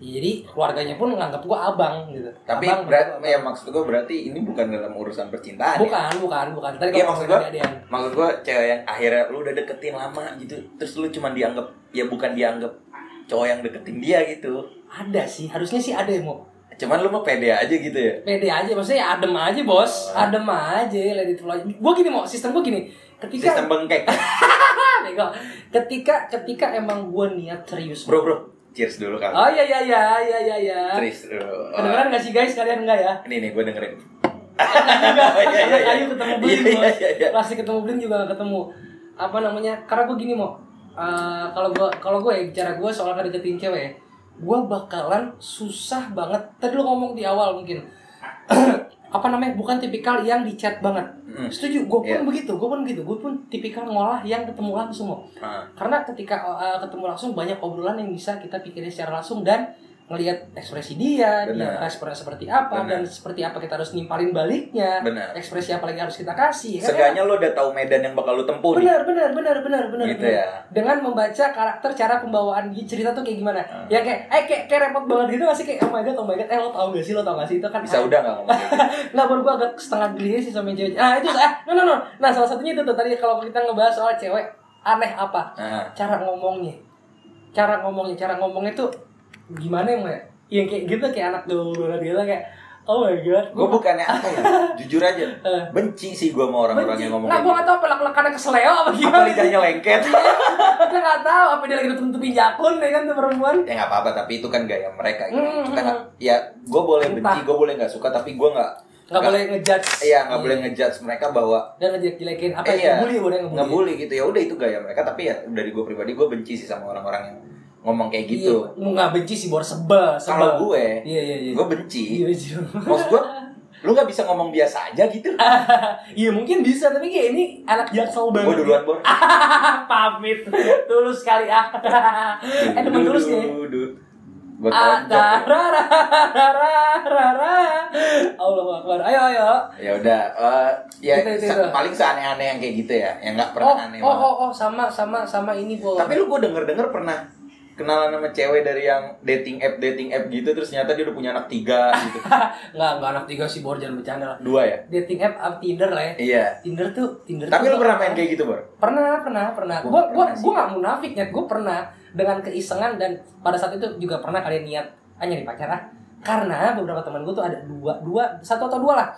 jadi keluarganya pun nganggap gue abang gitu tapi abang, berat, abang. ya maksud gua berarti ini bukan dalam urusan percintaan ya? Bukan, bukan, bukan. Tadi Iya, kalau maksud ngomongin gua- adik-adikan. maksud gue cewek yang akhirnya lu udah deketin lama gitu terus lu cuman dianggap ya bukan dianggap cowok yang deketin dia gitu ada sih, harusnya sih ada yang mau cuman lu mah pede aja gitu ya pede aja, maksudnya ya adem aja bos, adem aja, let it flow aja. Gue gini mau, sistem gue gini, ketika sistem bengkek Ah, bego. ketika ketika emang gue niat serius, bro bro cheers dulu kali Oh iya iya iya iya iya. iya. cheers dulu Oh, Kedengeran nggak sih guys kalian nggak ya? ini nih gue dengerin Enggak, Iya, iya, iya. Ayu ketemu Blin Iya, bos. iya, iya. Pasti ketemu Blin juga gak ketemu. Apa namanya? Karena gue gini mau. eh, kalau gue kalau gue ya, bicara gue soal ngedeketin cewek ya, gue bakalan susah banget. Tadi lo ngomong di awal mungkin. apa namanya? Bukan tipikal yang di chat banget. Mm. Setuju, gue pun Iya. begitu, gue pun begitu, gue pun tipikal ngolah yang ketemu langsung. Mo. Ah, Karena ketika eh, ketemu langsung banyak obrolan yang bisa kita pikirin secara langsung dan ngelihat ekspresi dia, Benar. dia respon seperti apa dan Benar. seperti apa kita harus nimpalin baliknya, Benar. ekspresi apa lagi harus kita kasih. kan enak. Seenggaknya lo udah tahu medan yang bakal lo tempuh nih. benar, benar, benar, benar, benar. Gitu benar. ya. Dengan membaca karakter cara pembawaan di cerita tuh kayak gimana? Hmm. Ya kayak eh kayak, kayak repot banget gitu masih kayak oh my god, oh my god, eh lo tau gak sih, lo tau gak sih itu kan Bisa udah nggak ngomong kayak gitu? Nah, baru gue agak setengah geli sih sama cewek. Nah, itu eh, no no no. Nah, salah satunya itu tuh tadi kalau kita ngebahas soal cewek aneh apa? Nah, Cara ngomongnya. Cara ngomongnya, cara ngomongnya tuh gimana emang ya? Yang kayak gitu kayak anak dulu gitu kayak oh my god. gue bukannya apa ya? Jujur aja, Eh. benci sih gue sama orang-orang yang ngomong Nah, kayak gue gitu. gak tau apa lek-lekannya keseleo apa Apa gimana. lidahnya lengket? Kita gak tau apa dia lagi nutup-nutupin jakun ya kan tuh perempuan. ya nggak apa-apa tapi itu kan gaya mereka gitu. Hmm, Kita hmm, nggak- ya gue boleh benci Entah. gue boleh nggak suka tapi gue nggak Gak boleh ngejudge. iya nggak boleh ngejudge mereka bahwa Dan ngejelek-jelekin apa Iya. ya? Ngebully boleh ngebully. ngebully gitu ya udah itu gaya mereka tapi ya dari gue pribadi gue benci sih sama orang-orang yang ngomong kayak gitu Iya, Nggak benci sih, baru sebel, sebel. kalau gue Iya, iya, iya. gue benci Iya, iya. maksud gue lu nggak bisa ngomong biasa aja gitu Iya mungkin bisa tapi kayak ini anak jaksel banget. gue duluan bor Ah, pamit. Tulus sekali ah. Iya. eh temen tulus nih. gue Ah, tarararararara. Allah Akbar. Ayo ayo. ya udah eh, ya Itu, itu, se- itu. paling seaneh-aneh yang kayak gitu ya yang Oh, nggak pernah aneh oh, banget. oh, oh, sama sama sama ini gua. Tapi lu gue denger-denger pernah kenalan sama cewek dari yang dating app dating app gitu terus ternyata dia udah punya anak tiga gitu enggak enggak anak tiga sih bor jangan bercanda lah. dua ya Dating app up Tinder lah ya. iya Tinder tuh Tinder. tuh tapi lu pernah main kayak gitu bor Pernah, pernah, pernah. Gua Gua gua nggak pernah sih. gua enggak munafik ya, gua pernah dengan keisengan dan pada saat itu juga pernah kalian niat ah nyari pacar ah. Karena beberapa teman gue tuh ada dua, dua, satu atau dua lah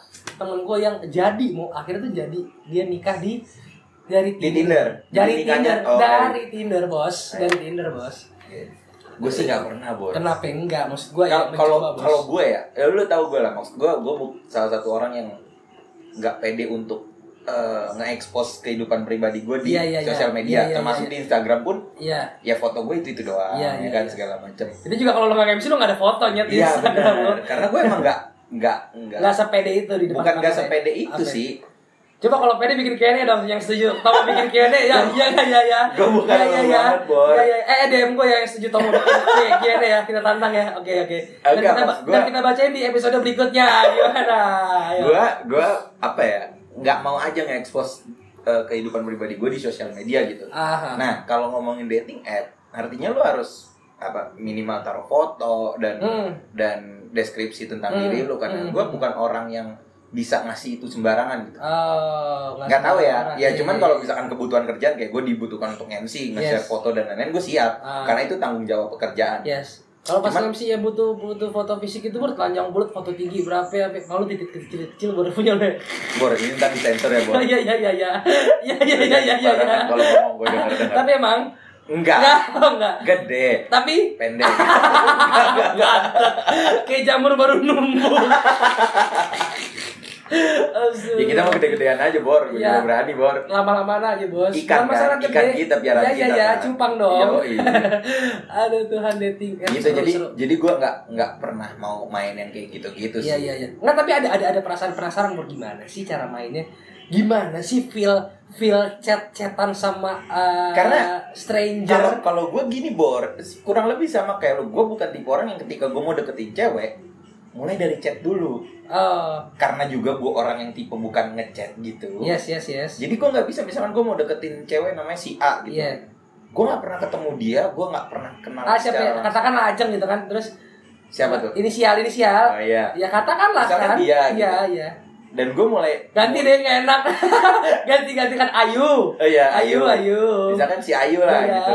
temen gue yang jadi mau akhirnya tuh jadi dia nikah di dari di Tinder dari Nikahnya- Tinder, oh, dari Tinder bos, Iya. dari Tinder bos. gue Iya. sih nggak pernah bor Kenapa enggak? Maksud gue Kal- ya kalau mencoba, bos. kalau gue ya, ya lu tahu gue lah maksud gue gue bu- salah satu orang yang nggak pede untuk eh, nge-expose kehidupan pribadi gue di Iya, iya, iya. sosial Iya, media iya, termasuk iya. di Instagram pun iya. ya foto gue itu itu doang Iya, ya iya, kan iya. segala macam Jadi juga kalau lo nggak MC lo nggak ada fotonya di iya Instagram lo. benar karena gue emang nggak nggak nggak Nggak sepede itu di depan. bukan nggak kamera. sepede itu Oke. sih Coba kalau pede bikin Q&A dong yang setuju. Tomo bikin Q&A ya, ya, ya, ya, ya. Gua bukan ya, ya, orang ya. banget, Boy. Ya, ya. Eh, DM gue yang setuju Tomo bikin Q- Q&A ya. Kita tantang ya. Oke, oke. Dan Enggak, kita, maksud gua- dan kita bacain di episode berikutnya. Gimana? Ayo. gua gua apa ya nggak mau aja nge-expose eh, kehidupan pribadi gue di sosial media gitu Aha. nah kalau ngomongin dating app artinya lu harus apa minimal taruh foto dan Hmm. dan deskripsi tentang Hmm. diri lu karena Hmm. gua bukan orang yang bisa ngasih itu sembarangan gitu Oh, nggak tahu ya sembarangan. ya Iya, cuman iya, kalau iya. misalkan kebutuhan kerjaan kayak gue dibutuhkan untuk MC nge-share Yes. foto dan lain-lain gue siap Ah. Iya. karena itu tanggung jawab pekerjaan Yes. Kalau pas Cuman- MC ya butuh butuh foto fisik itu buat telanjang bulat, foto tinggi berapa ya? Kalau titik kecil kecil baru punya lo. bor ini ntar disensor ya bor Iya iya iya iya. Iya iya iya iya iya. Sembarangan kalau ngomong gue denger denger Tapi emang enggak enggak enggak. gede Tapi pendek gitu. Gatot. Kayak jamur baru numbuh. Astaga. ya kita mau gede-gedean aja bor gue Iya. juga berani bor lama-lama aja bos. ikan Lama sana kan ikan gede. kita piara ya, kita Ya, ya, kan. cupang dong. Yoi. Aduh Tuhan dating. Eh, gitu seru, jadi seru. jadi gue nggak nggak pernah mau main yang kayak gitu-gitu Iya sih iya iya. Nggak tapi ada ada ada perasaan penasaran mau gimana sih cara mainnya? Gimana sih feel feel chat chatan sama eh, Karena- kalau stranger? kalau gue gini bor kurang lebih sama kayak lu gue bukan tipe orang yang ketika gue mau deketin cewek mulai dari chat dulu Oh, karena juga gue orang yang tipe bukan ngechat gitu yes yes yes. jadi gue nggak bisa misalkan gue mau deketin cewek namanya si A gitu Iya. gue nggak pernah ketemu dia gue nggak pernah kenal Ah siapa? secara ya? Iya. langsung. Katakanlah ajeng gitu kan. Terus siapa tuh Inisial inisial. oh iya Ya katakanlah Misalnya kan. dia, Iya, gitu. iya. dan gue mulai Ganti deh nggak enak. ganti gantikan Ayu. oh iya Ayu, Ayu. misalkan si Ayu lah Iya. gitu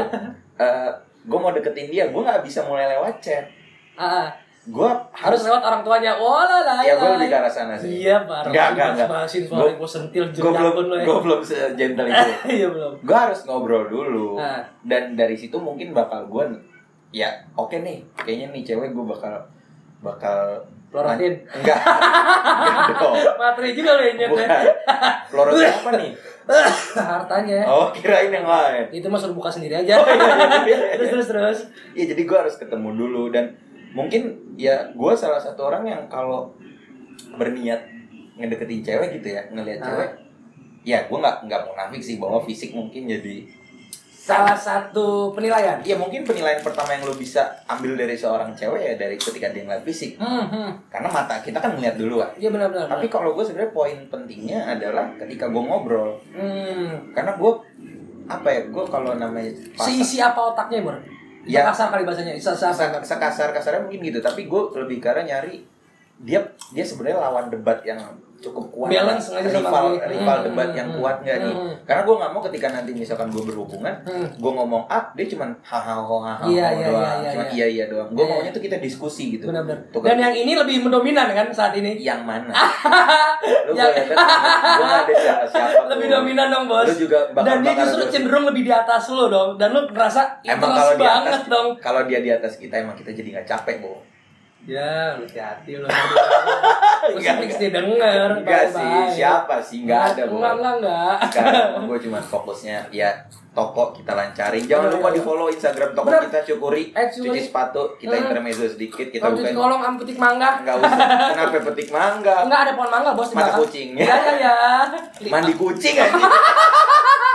gue mau deketin dia gue nggak bisa mulai lewat chat Ah, ah. gue harus lewat orang tuanya. Wah lah lah. ya gue lah. lebih ke arah sana sih Iya, parah. Nggak, nggak, nggak. Bahasin Gua- soalnya gue sentil gue belum pun lo ya. gue belum gentle itu Iya belum. gue harus ngobrol dulu Ah. dan dari situ mungkin bakal gue ya oke nih kayaknya nih cewek gue bakal bakal Pelorotin. enggak enggak dong Materi juga ya. lo ini. bukan pelorotin apa nih Hartanya. oh iya, kirain yang lain Oh, Itu mah suruh buka sendiri aja. terus terus terus. ya jadi gue harus ketemu dulu dan mungkin ya gue salah satu orang yang kalau berniat ngedeketin cewek gitu ya ngelihat Ah. cewek ya gue nggak nggak munafik sih bahwa fisik mungkin jadi salah satu penilaian. Ya mungkin penilaian pertama yang lo bisa ambil dari seorang cewek ya dari ketika dia ngeliat fisik. Hmm, hmm. Karena mata kita kan melihat dulu kan. Iya benar-benar. Tapi kalau gue sebenarnya poin pentingnya adalah ketika gue ngobrol. hmm. Karena gue apa ya gue kalau namanya pasang- seisi apa otaknya, Bro? Ya. Ya. Kasar kali bahasanya. Isa -isa -isa. sekasar kasarnya mungkin gitu tapi gue lebih karena nyari dia dia sebenarnya lawan debat yang cukup kuat Balance aja sama rival gue. rival Hmm, debat hmm, yang hmm, kuat nggak nih hmm. karena gue nggak mau ketika nanti misalkan gue berhubungan Hmm. gue ngomong ah dia cuman hahaha hahaha Iya, iya, iya, doang iya, cuman iya. iya iya doang gue Iya, maunya tuh kita diskusi gitu Benar-benar. Tuh Dan kan. yang ini lebih mendominan kan saat ini? yang mana lu Yang- gue ada siapa siapa lebih tuh. dominan dong, Bos. lu juga bakal dan dia bakal justru terus- cenderung lebih di atas lo dong dan lo ngerasa itu emang kalau di atas banget dong kalau dia di atas kita emang kita jadi nggak capek bohong ya lu hati-hati lo Enggak, mesti mesti denger Enggak sih, bye-bye. siapa sih? Enggak ada, Bo. enggak enggak enggak Sekarang gue cuma fokusnya ya toko kita lancarin. Bener, Jangan lupa bener. di follow Instagram toko Iya. Bener. kita syukuri, Eh, syukuri. cuci sepatu, kita Hmm. intermezzo sedikit, kita kalau cuci bukain. kolong am petik mangga Enggak usah. Kenapa petik mangga? enggak ada pohon mangga bos di Mata belakang kucing. ya ya ya Mandi kucing aja.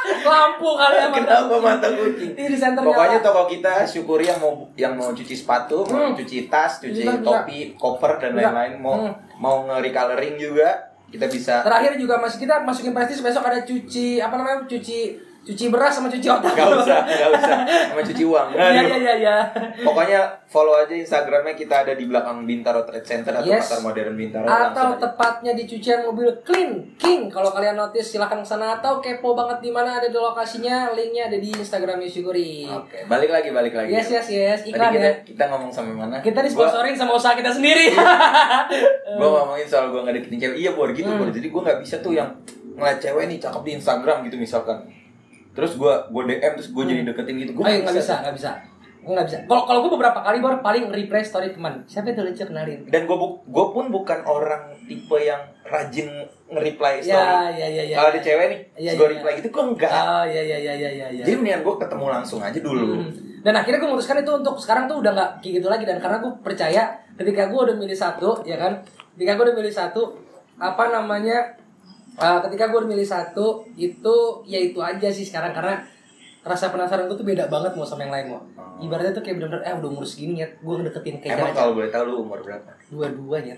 lampu kali ya mata Kenapa mata kucing? Ini di center Pokoknya nyala. toko kita syukuri yang mau yang mau cuci sepatu, mau Hmm. cuci tas, cuci Cuci tas juga. topi, cover dan Juga. lain-lain, mau Hmm. mau nge-recoloring juga, kita bisa terakhir juga masih kita masukin prestis besok ada cuci apa namanya cuci cuci beras sama cuci otak Gak usah, gak usah. Sama cuci uang. ya Aduh. ya ya ya Pokoknya follow aja Instagramnya kita ada di belakang Bintaro Trade Center atau Yes. pasar modern Bintaro. atau Langsung aja. tepatnya di cucian mobil Clean King kalau kalian notice silahkan ke sana atau kepo banget di mana ada di lokasinya linknya ada di Instagram Yushiguri Oke, balik lagi, balik lagi. yes yes yes Tadi iklan kita, Iya. ya kita ngomong sampai mana? kita disponsorin sama usaha kita sendiri Gua, gua ngomongin soal gua nggak deketin cewek. Iya, Bor, gitu, Hmm. Bor. Jadi gua nggak bisa tuh yang ngeliat cewek nih cakep di Instagram gitu misalkan. Terus gua gua DM terus gua jadi deketin gitu. Gua Hmm. Ayo nggak bisa nggak bisa Gua nggak bisa kalau kalau gue beberapa kali baru paling replay story teman siapa itu lucu kenalin Dan gua bu- gua pun bukan orang tipe yang rajin nge-reply story. ya ya ya ya Kalau ada cewek nih, Iya, gua iya. reply gitu gua enggak. oh ya ya ya ya ya ya Jadi mendingan gua ketemu langsung aja dulu. Hmm. Dan akhirnya gue memutuskan itu untuk sekarang tuh udah nggak kayak gitu lagi dan karena gue percaya ketika gue udah milih satu ya kan, ketika gue udah milih satu apa namanya, eh, ketika gue udah milih satu itu ya itu aja sih sekarang karena rasa penasaran gue tuh beda banget mau sama yang lain mau. Ibaratnya tuh kayak bener-bener eh udah umur segini ya gue deketin kayak Oh. Emang jarak- kalau boleh tahu lu umur berapa? dua-dua ya,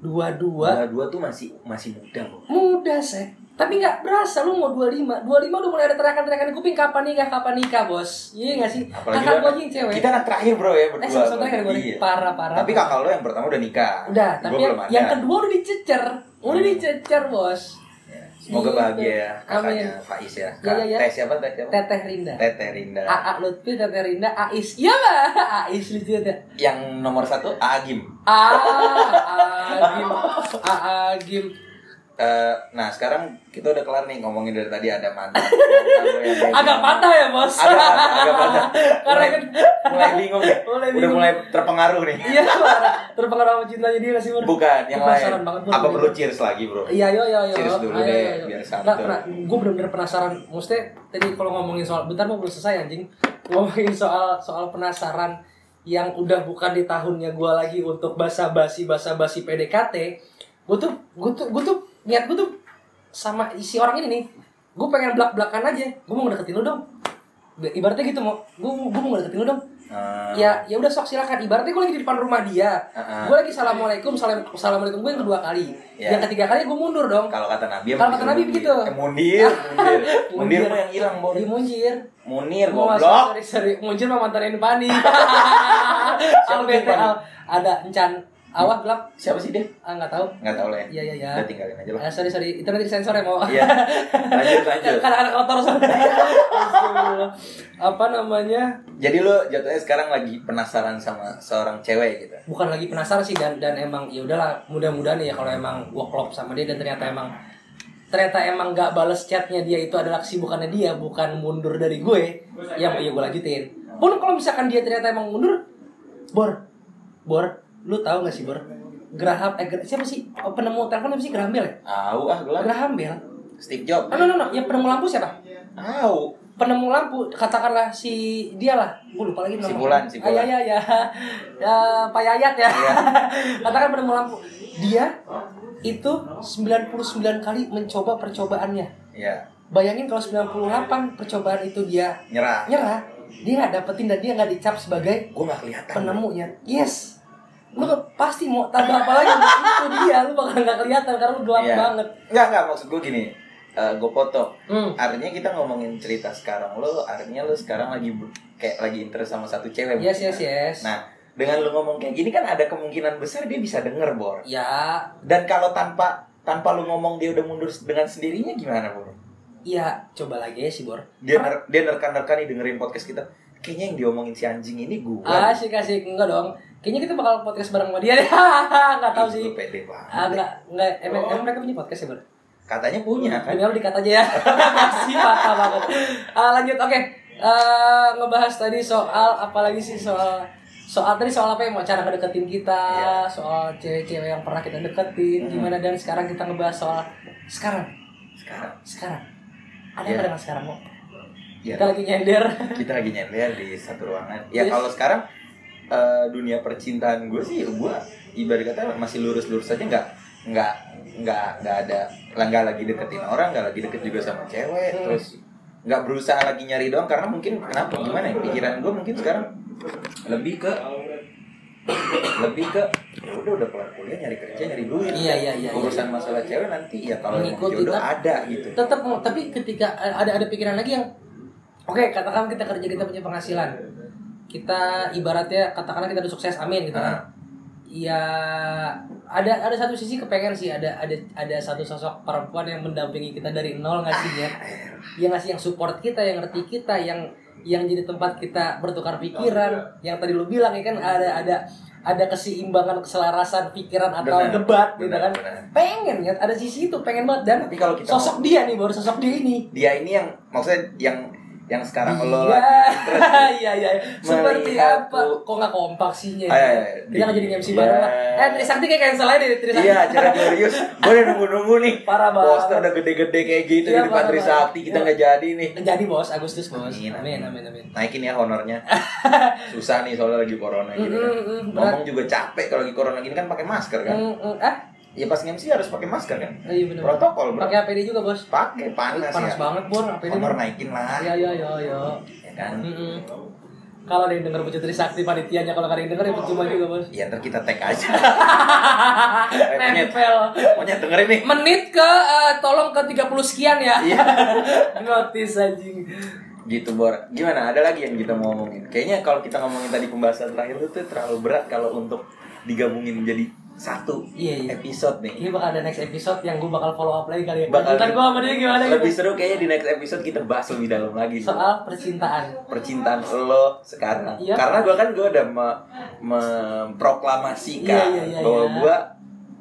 dua-dua Dua dua tuh masih masih muda loh. muda sih. Tapi nggak berasa lu mau 25 25 udah mulai ada teriakan-teriakan di kuping Kapan nikah, kapan nikah bos Iya nggak sih? Apalagi Kakak lu- gue aja yang cewek Kita anak terakhir bro ya berdua. Eh, sama terakhir gue Iya. parah parah. Tapi kakak lo yang pertama udah nikah. udah, Gua tapi yang, belum ada. Hmm. yang kedua udah dicecer, udah dicecer bos. Ya. Semoga Gitu. bahagia ya kakaknya Amin. Faiz Iya, ya. iya, iya. Teh siapa teh siapa? Teteh Rinda, Teteh Rinda. AA Lutfi, Teteh Rinda, Ais, iya mbak, Ais lucu ya. Yang nomor satu Agim. Ah, Agim, Ah, Agim. Eh, nah sekarang kita udah kelar nih ngomongin dari tadi ada mantan. mantan lo yang kayak Agak gimana. patah ya bos. Agak agak- agak patah. Karena Mulai, kan, mulai bingung ya. Mulai Udah bingung. mulai terpengaruh nih. iya parah. Terpengaruh sama cintanya dia nggak sih Bur? Bukan yang Gua lain. penasaran banget, Bur. Apa perlu cheers lagi bro? Iya, yo, yo, yo. Serius dulu deh, biar santun. Nah, nah, gue bener-bener penasaran. Maksudnya tadi kalau ngomongin soal, bentar mau belum selesai anjing. Ngomongin soal soal penasaran yang udah bukan di tahunnya gue lagi untuk basa-basi basa-basi PDKT. Gue tuh, gue tuh, gue tuh niat gue tuh sama si orang ini nih. Gue pengen belak-belakan aja. Gue mau ngedeketin lu dong. Ibaratnya gitu mau, gue gue mau ngedeketin lu dong. Eh, Ya, ya udah sok silakan. Ibaratnya gue lagi di depan rumah dia. Heeh. Gue lagi assalamualaikum, salam, assalamualaikum gue yang kedua kali. Ya. Yang ketiga kali gue mundur dong. Kalau kata Nabi Kalau kata Nabi begitu. Eh, mundir, mundir. mundir mah yang hilang, Bor. Di munjir. Munir Gua masuk- goblok. Sorry, sorry. Munjir mah mantan Pani. Al tuh bete Pani? al. Ada encan. Awah gelap. Siapa sih dia? Ah nggak tahu. Enggak tahu lah ya. Iya iya iya. Udah tinggalin aja lah. Ah, sorry sorry. Itu nanti disensor ya mau. Iya. Lanjut lanjut. Kan anak kotor sorry. Apa namanya? Jadi lu jatuhnya sekarang lagi penasaran sama seorang cewek gitu. bukan lagi penasaran sih dan dan emang ya udahlah mudah-mudahan ya kalau emang gua klop sama dia dan ternyata emang ternyata emang gak bales chatnya dia itu adalah kesibukannya dia bukan mundur dari gue yang ya gue lanjutin pun kalau misalkan dia ternyata emang mundur bor bor lu tahu gak sih bor Graham eh Gra- siapa sih Oh, penemu telepon apa sih Graham Bell ya? Au ah gelap. Graham Bell Steve Jobs. oh, no no no yang penemu lampu siapa Au. penemu lampu katakanlah si dia lah gue lupa lagi Si Bulan, si Bulan. Iya. Ah, ya, ya, ya. Ya, Pak Yayat ya katakan penemu lampu dia itu 99 kali mencoba percobaannya Iya. bayangin kalau 98 percobaan itu dia nyerah nyerah dia nggak dapetin dan dia nggak dicap sebagai gue nggak kelihatan penemunya yes lu ke- pasti mau tambah apa lagi itu dia lu bakal nggak kelihatan karena lu gelap Iya. banget nggak nggak maksud gue gini Eh gue foto hmm. artinya kita ngomongin cerita sekarang lo artinya lo sekarang lagi ber- kayak lagi interest sama satu cewek yes mungkin. yes yes nah dengan lo ngomong kayak gini kan ada kemungkinan besar dia bisa denger bor ya dan kalau tanpa tanpa lo ngomong dia udah mundur dengan sendirinya gimana bor ya coba lagi ya si bor dia ner dia nerkan nerkan nih dengerin podcast kita kayaknya yang diomongin si anjing ini gue asik asik enggak dong kayaknya kita bakal podcast bareng sama dia deh nggak tahu sih Ih, gua pede Ah, banget enggak, enggak, emang, emang mereka punya podcast ya, Bro? katanya punya Oh. kan Ini lu dikat aja ya. si patah banget. Ah, lanjut, oke. Eh, ngebahas tadi soal apalagi sih soal soal tadi soal apa yang mau cara ngedeketin kita, Iya. soal cewek-cewek yang pernah kita deketin, Hmm. gimana dan sekarang kita ngebahas soal sekarang, sekarang sekarang. Ada Iya. apa dengan sekarang kok? ya Kita lagi nyender. kita lagi nyender di satu ruangan ya Yes. kalau sekarang eh, dunia percintaan gue sih gue ibarat kata masih lurus-lurus aja nggak nggak nggak nggak ada lah, nggak lagi deketin orang nggak lagi deket juga sama cewek Hmm. terus nggak berusaha lagi nyari doang karena mungkin kenapa gimana ya pikiran gue mungkin sekarang lebih ke lebih ke ya udah udah kelar kuliah nyari kerja nyari duit Iya, iya, iya, urusan masalah cewek nanti ya kalau emang Mengikuti, jodoh tapi- ada gitu Tetap mau, tapi ketika eh, ada ada pikiran lagi yang Oke, katakan kita kerja kita punya penghasilan. Kita ibaratnya katakanlah kita udah sukses, amin gitu. kan. Nah, ya ada ada satu sisi kepengen sih ada ada ada satu sosok perempuan yang mendampingi kita dari nol nggak sih ya Ah, iya. yang ngasih yang support kita yang ngerti kita yang yang jadi tempat kita bertukar pikiran yang tadi lu bilang ya kan ada ada ada keseimbangan keselarasan pikiran atau Benar, debat gitu benar, kan benar. pengen ya ada sisi itu pengen banget dan tapi kalau kita sosok dia nih baru sosok dia ini dia ini yang maksudnya yang yang sekarang lo Iya. lagi interest. iya iya seperti Melihatku. apa kok nggak kompak sihnya Ayo, ayo, kita nggak di- jadi MC Ah, iya. bareng lah eh Trisakti kayak cancel aja deh Trisakti Iya, acara glorious. Gue udah nunggu-nunggu nih. Parah banget. Poster udah gede-gede kayak gitu Iya, di depan parah Trisakti banget. kita Iya. nggak jadi nih. Jadi bos, Agustus bos. Amin, Amin, amin. amin, amin. amin. Naikin ya honornya. Susah nih soalnya lagi corona gitu kan. Mm, mm, mm, berat. Ngomong juga capek kalau lagi corona gini kan pakai masker kan. Mm, mm, ah, Ya pas MC harus pakai masker kan. oh, iya benar. Protokol bro. Pakai APD juga bos. Pakai panas, Panas ya. banget bor, APD. Honor naikin lah. Iya, iya, iya, iya. Ya kan. Mm, mm. Kalau ada yang denger Pucu Trisakti panitianya, kalau nggak ada yang denger ya percuma juga bos. Ah, Ya ntar kita tag aja. Pokoknya- Nempel. Pokoknya dengerin nih. Menit ke eh, tolong ke 30 sekian ya. Iya. Notis anjing. gitu bor gimana ada lagi yang kita mau ngomongin kayaknya kalau kita ngomongin tadi pembahasan terakhir itu tuh terlalu berat kalau untuk digabungin jadi satu Iya, iya. episode nih Ini bakal ada next episode yang gue bakal follow up lagi kali ya. Bakal- Ntar gue sama dia gimana gitu. lebih seru kayaknya di next episode kita bahas lebih dalam lagi nih. Soal percintaan. percintaan lo sekarang Iya. karena gua kan gua udah me- Iya, memproklamasikan iya, iya, bahwa iya. gua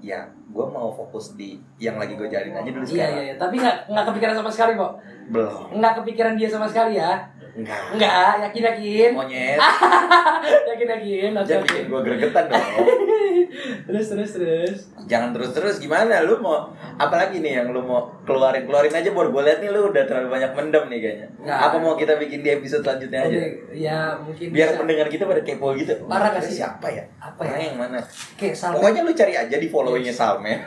ya gua mau fokus di yang lagi gua jalin aja dulu Iya, sekarang iya, iya. Tapi nggak nggak kepikiran sama sekali kok. belum Nggak kepikiran dia sama sekali ya. enggak Enggak, yakin yakin. monyet Yakin yakin. Oke, jangan oke. bikin gua gregetan dong Terus terus terus. jangan terus-terus gimana lu mau apalagi nih yang lu mau keluarin keluarin aja baru gue liat nih lu udah terlalu banyak mendem nih kayaknya Nggak. apa mau kita bikin di episode selanjutnya aja Nah. Oke, ya mungkin biar bisa. pendengar kita pada kepo gitu Parah nggak Ini sih? siapa ya apa Orangnya ya? yang mana Oke, salah. pokoknya lu cari aja di followingnya Salmen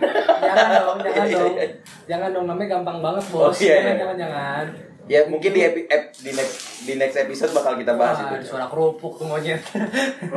Jangan dong, jangan Iya, dong. iya. Jangan dong, namanya gampang banget, Oh, Bos. iya, iya. Jangan, jangan, jangan. ya mungkin di epi- ep- di next di next episode bakal kita bahas Wah, ada itu suara kerupuk tuh monyet.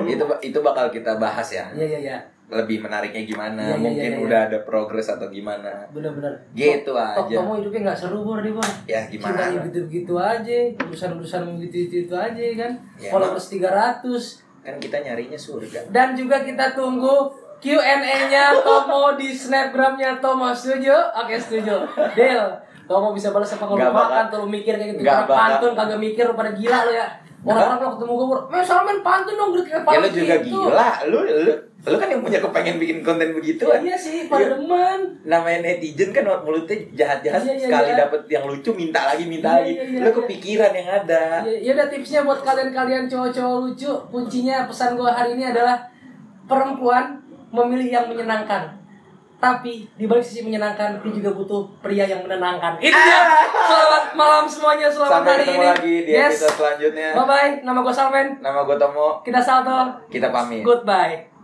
itu ba- itu bakal kita bahas ya Iya, iya, iya. lebih menariknya Iya, gimana iya, mungkin iya, iya. udah ada progres atau gimana Bener-bener. Gitu Tok- aja. Kamu hidupnya nggak seru, Bor, nih, Bor. ya Cuma gimana gitu-gitu aja, urusan-urusan gitu-gitu aja kan. Iya, Followers 300. kan kita nyarinya surga Dan juga kita tunggu Q&A-nya Tomo di snapgramnya Tomo setuju? Oke setuju. Deal. Tomo bisa balas apa kalau Nggak lu makan bakal- tuh lu mikir kayak gitu. nggak Karena bakal. pantun kagak mikir lu pada gila lu ya. Orang-orang kalau ketemu gue, "Eh, Salman pantun dong, gerak kayak ya pantun lu juga gitu." gila lu, lu lu kan yang punya kepengen bikin konten begituan Iya sih, pada Iya. demen. namanya netizen kan mulutnya jahat-jahat Iya, iya, sekali iya. dapet yang lucu minta lagi Iya, minta lagi iya, iya, lu iya. kepikiran yang ada Ya- Ya udah tipsnya buat kalian-kalian cowok-cowok lucu, kuncinya pesan gue hari ini adalah perempuan memilih yang menyenangkan. Tapi di balik sisi menyenangkan, dia juga butuh pria yang menenangkan. Itu dia. Selamat malam semuanya, selamat Ah. sampai hari ketemu ini. lagi di yes. episode selanjutnya Bye bye. Nama gue Salmen. nama gue Tomo Kita salto. kita pamit Goodbye.